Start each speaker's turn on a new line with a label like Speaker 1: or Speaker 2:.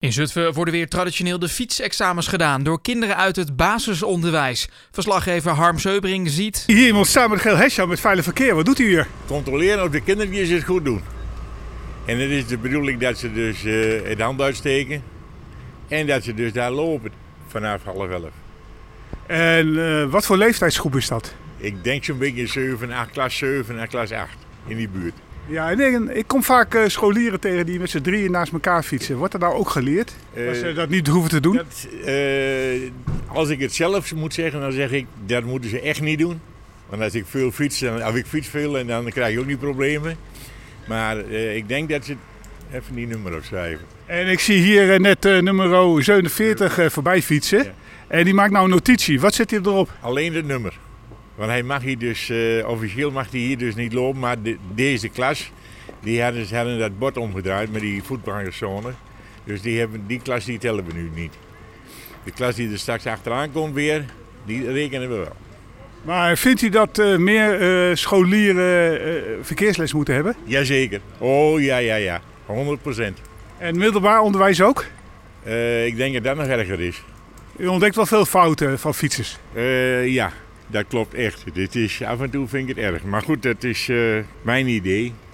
Speaker 1: In Zutphen worden weer traditioneel de fietsexamens gedaan door kinderen uit het basisonderwijs. Verslaggever Harm Seubring ziet.
Speaker 2: Hier iemand samen met Geel Hesja met veilig verkeer. Wat doet u hier?
Speaker 3: controleren of de kindertjes het goed doen. En het is de bedoeling dat ze dus eh, het hand uitsteken en dat ze dus daar lopen vanaf half elf.
Speaker 2: En eh, wat voor leeftijdsgroep is dat?
Speaker 3: Ik denk zo'n beetje 7, 8, klas 7 en klas 8 in die buurt.
Speaker 2: Ja, nee, ik kom vaak eh, scholieren tegen die met z'n drieën naast elkaar fietsen. Wordt er nou ook geleerd?
Speaker 3: Eh,
Speaker 2: dat ze dat niet hoeven te doen?
Speaker 3: Dat, eh, als ik het zelf moet zeggen, dan zeg ik dat moeten ze echt niet doen. Want als ik veel fiets, dan, of ik fiets veel en dan krijg je ook die problemen. Maar eh, ik denk dat ze even die nummer opschrijven.
Speaker 2: En ik zie hier eh, net eh, nummer 47 eh, voorbij fietsen.
Speaker 3: Ja.
Speaker 2: En die maakt nou een notitie. Wat zit hier erop?
Speaker 3: Alleen het nummer. Want hij mag hier dus, eh, officieel mag hij hier dus niet lopen, maar de- deze klas, die hadden, ze hadden dat bord omgedraaid met die voetgangerszone. Dus die, hebben, die klas die tellen we nu niet. De klas die er straks achteraan komt weer, die rekenen we wel.
Speaker 2: Maar vindt u dat eh, meer eh, scholieren eh, verkeersles moeten hebben?
Speaker 3: Jazeker. Oh ja, ja, ja. 100 procent. Eh,
Speaker 2: En middelbaar onderwijs ook?
Speaker 3: ik denk dat dat nog erger is.
Speaker 2: U ontdekt wel veel fouten van fietsers.
Speaker 3: Eh, ja, dat klopt echt. Dit is, af en toe vind ik het erg. Maar goed, dat is eh, mijn idee.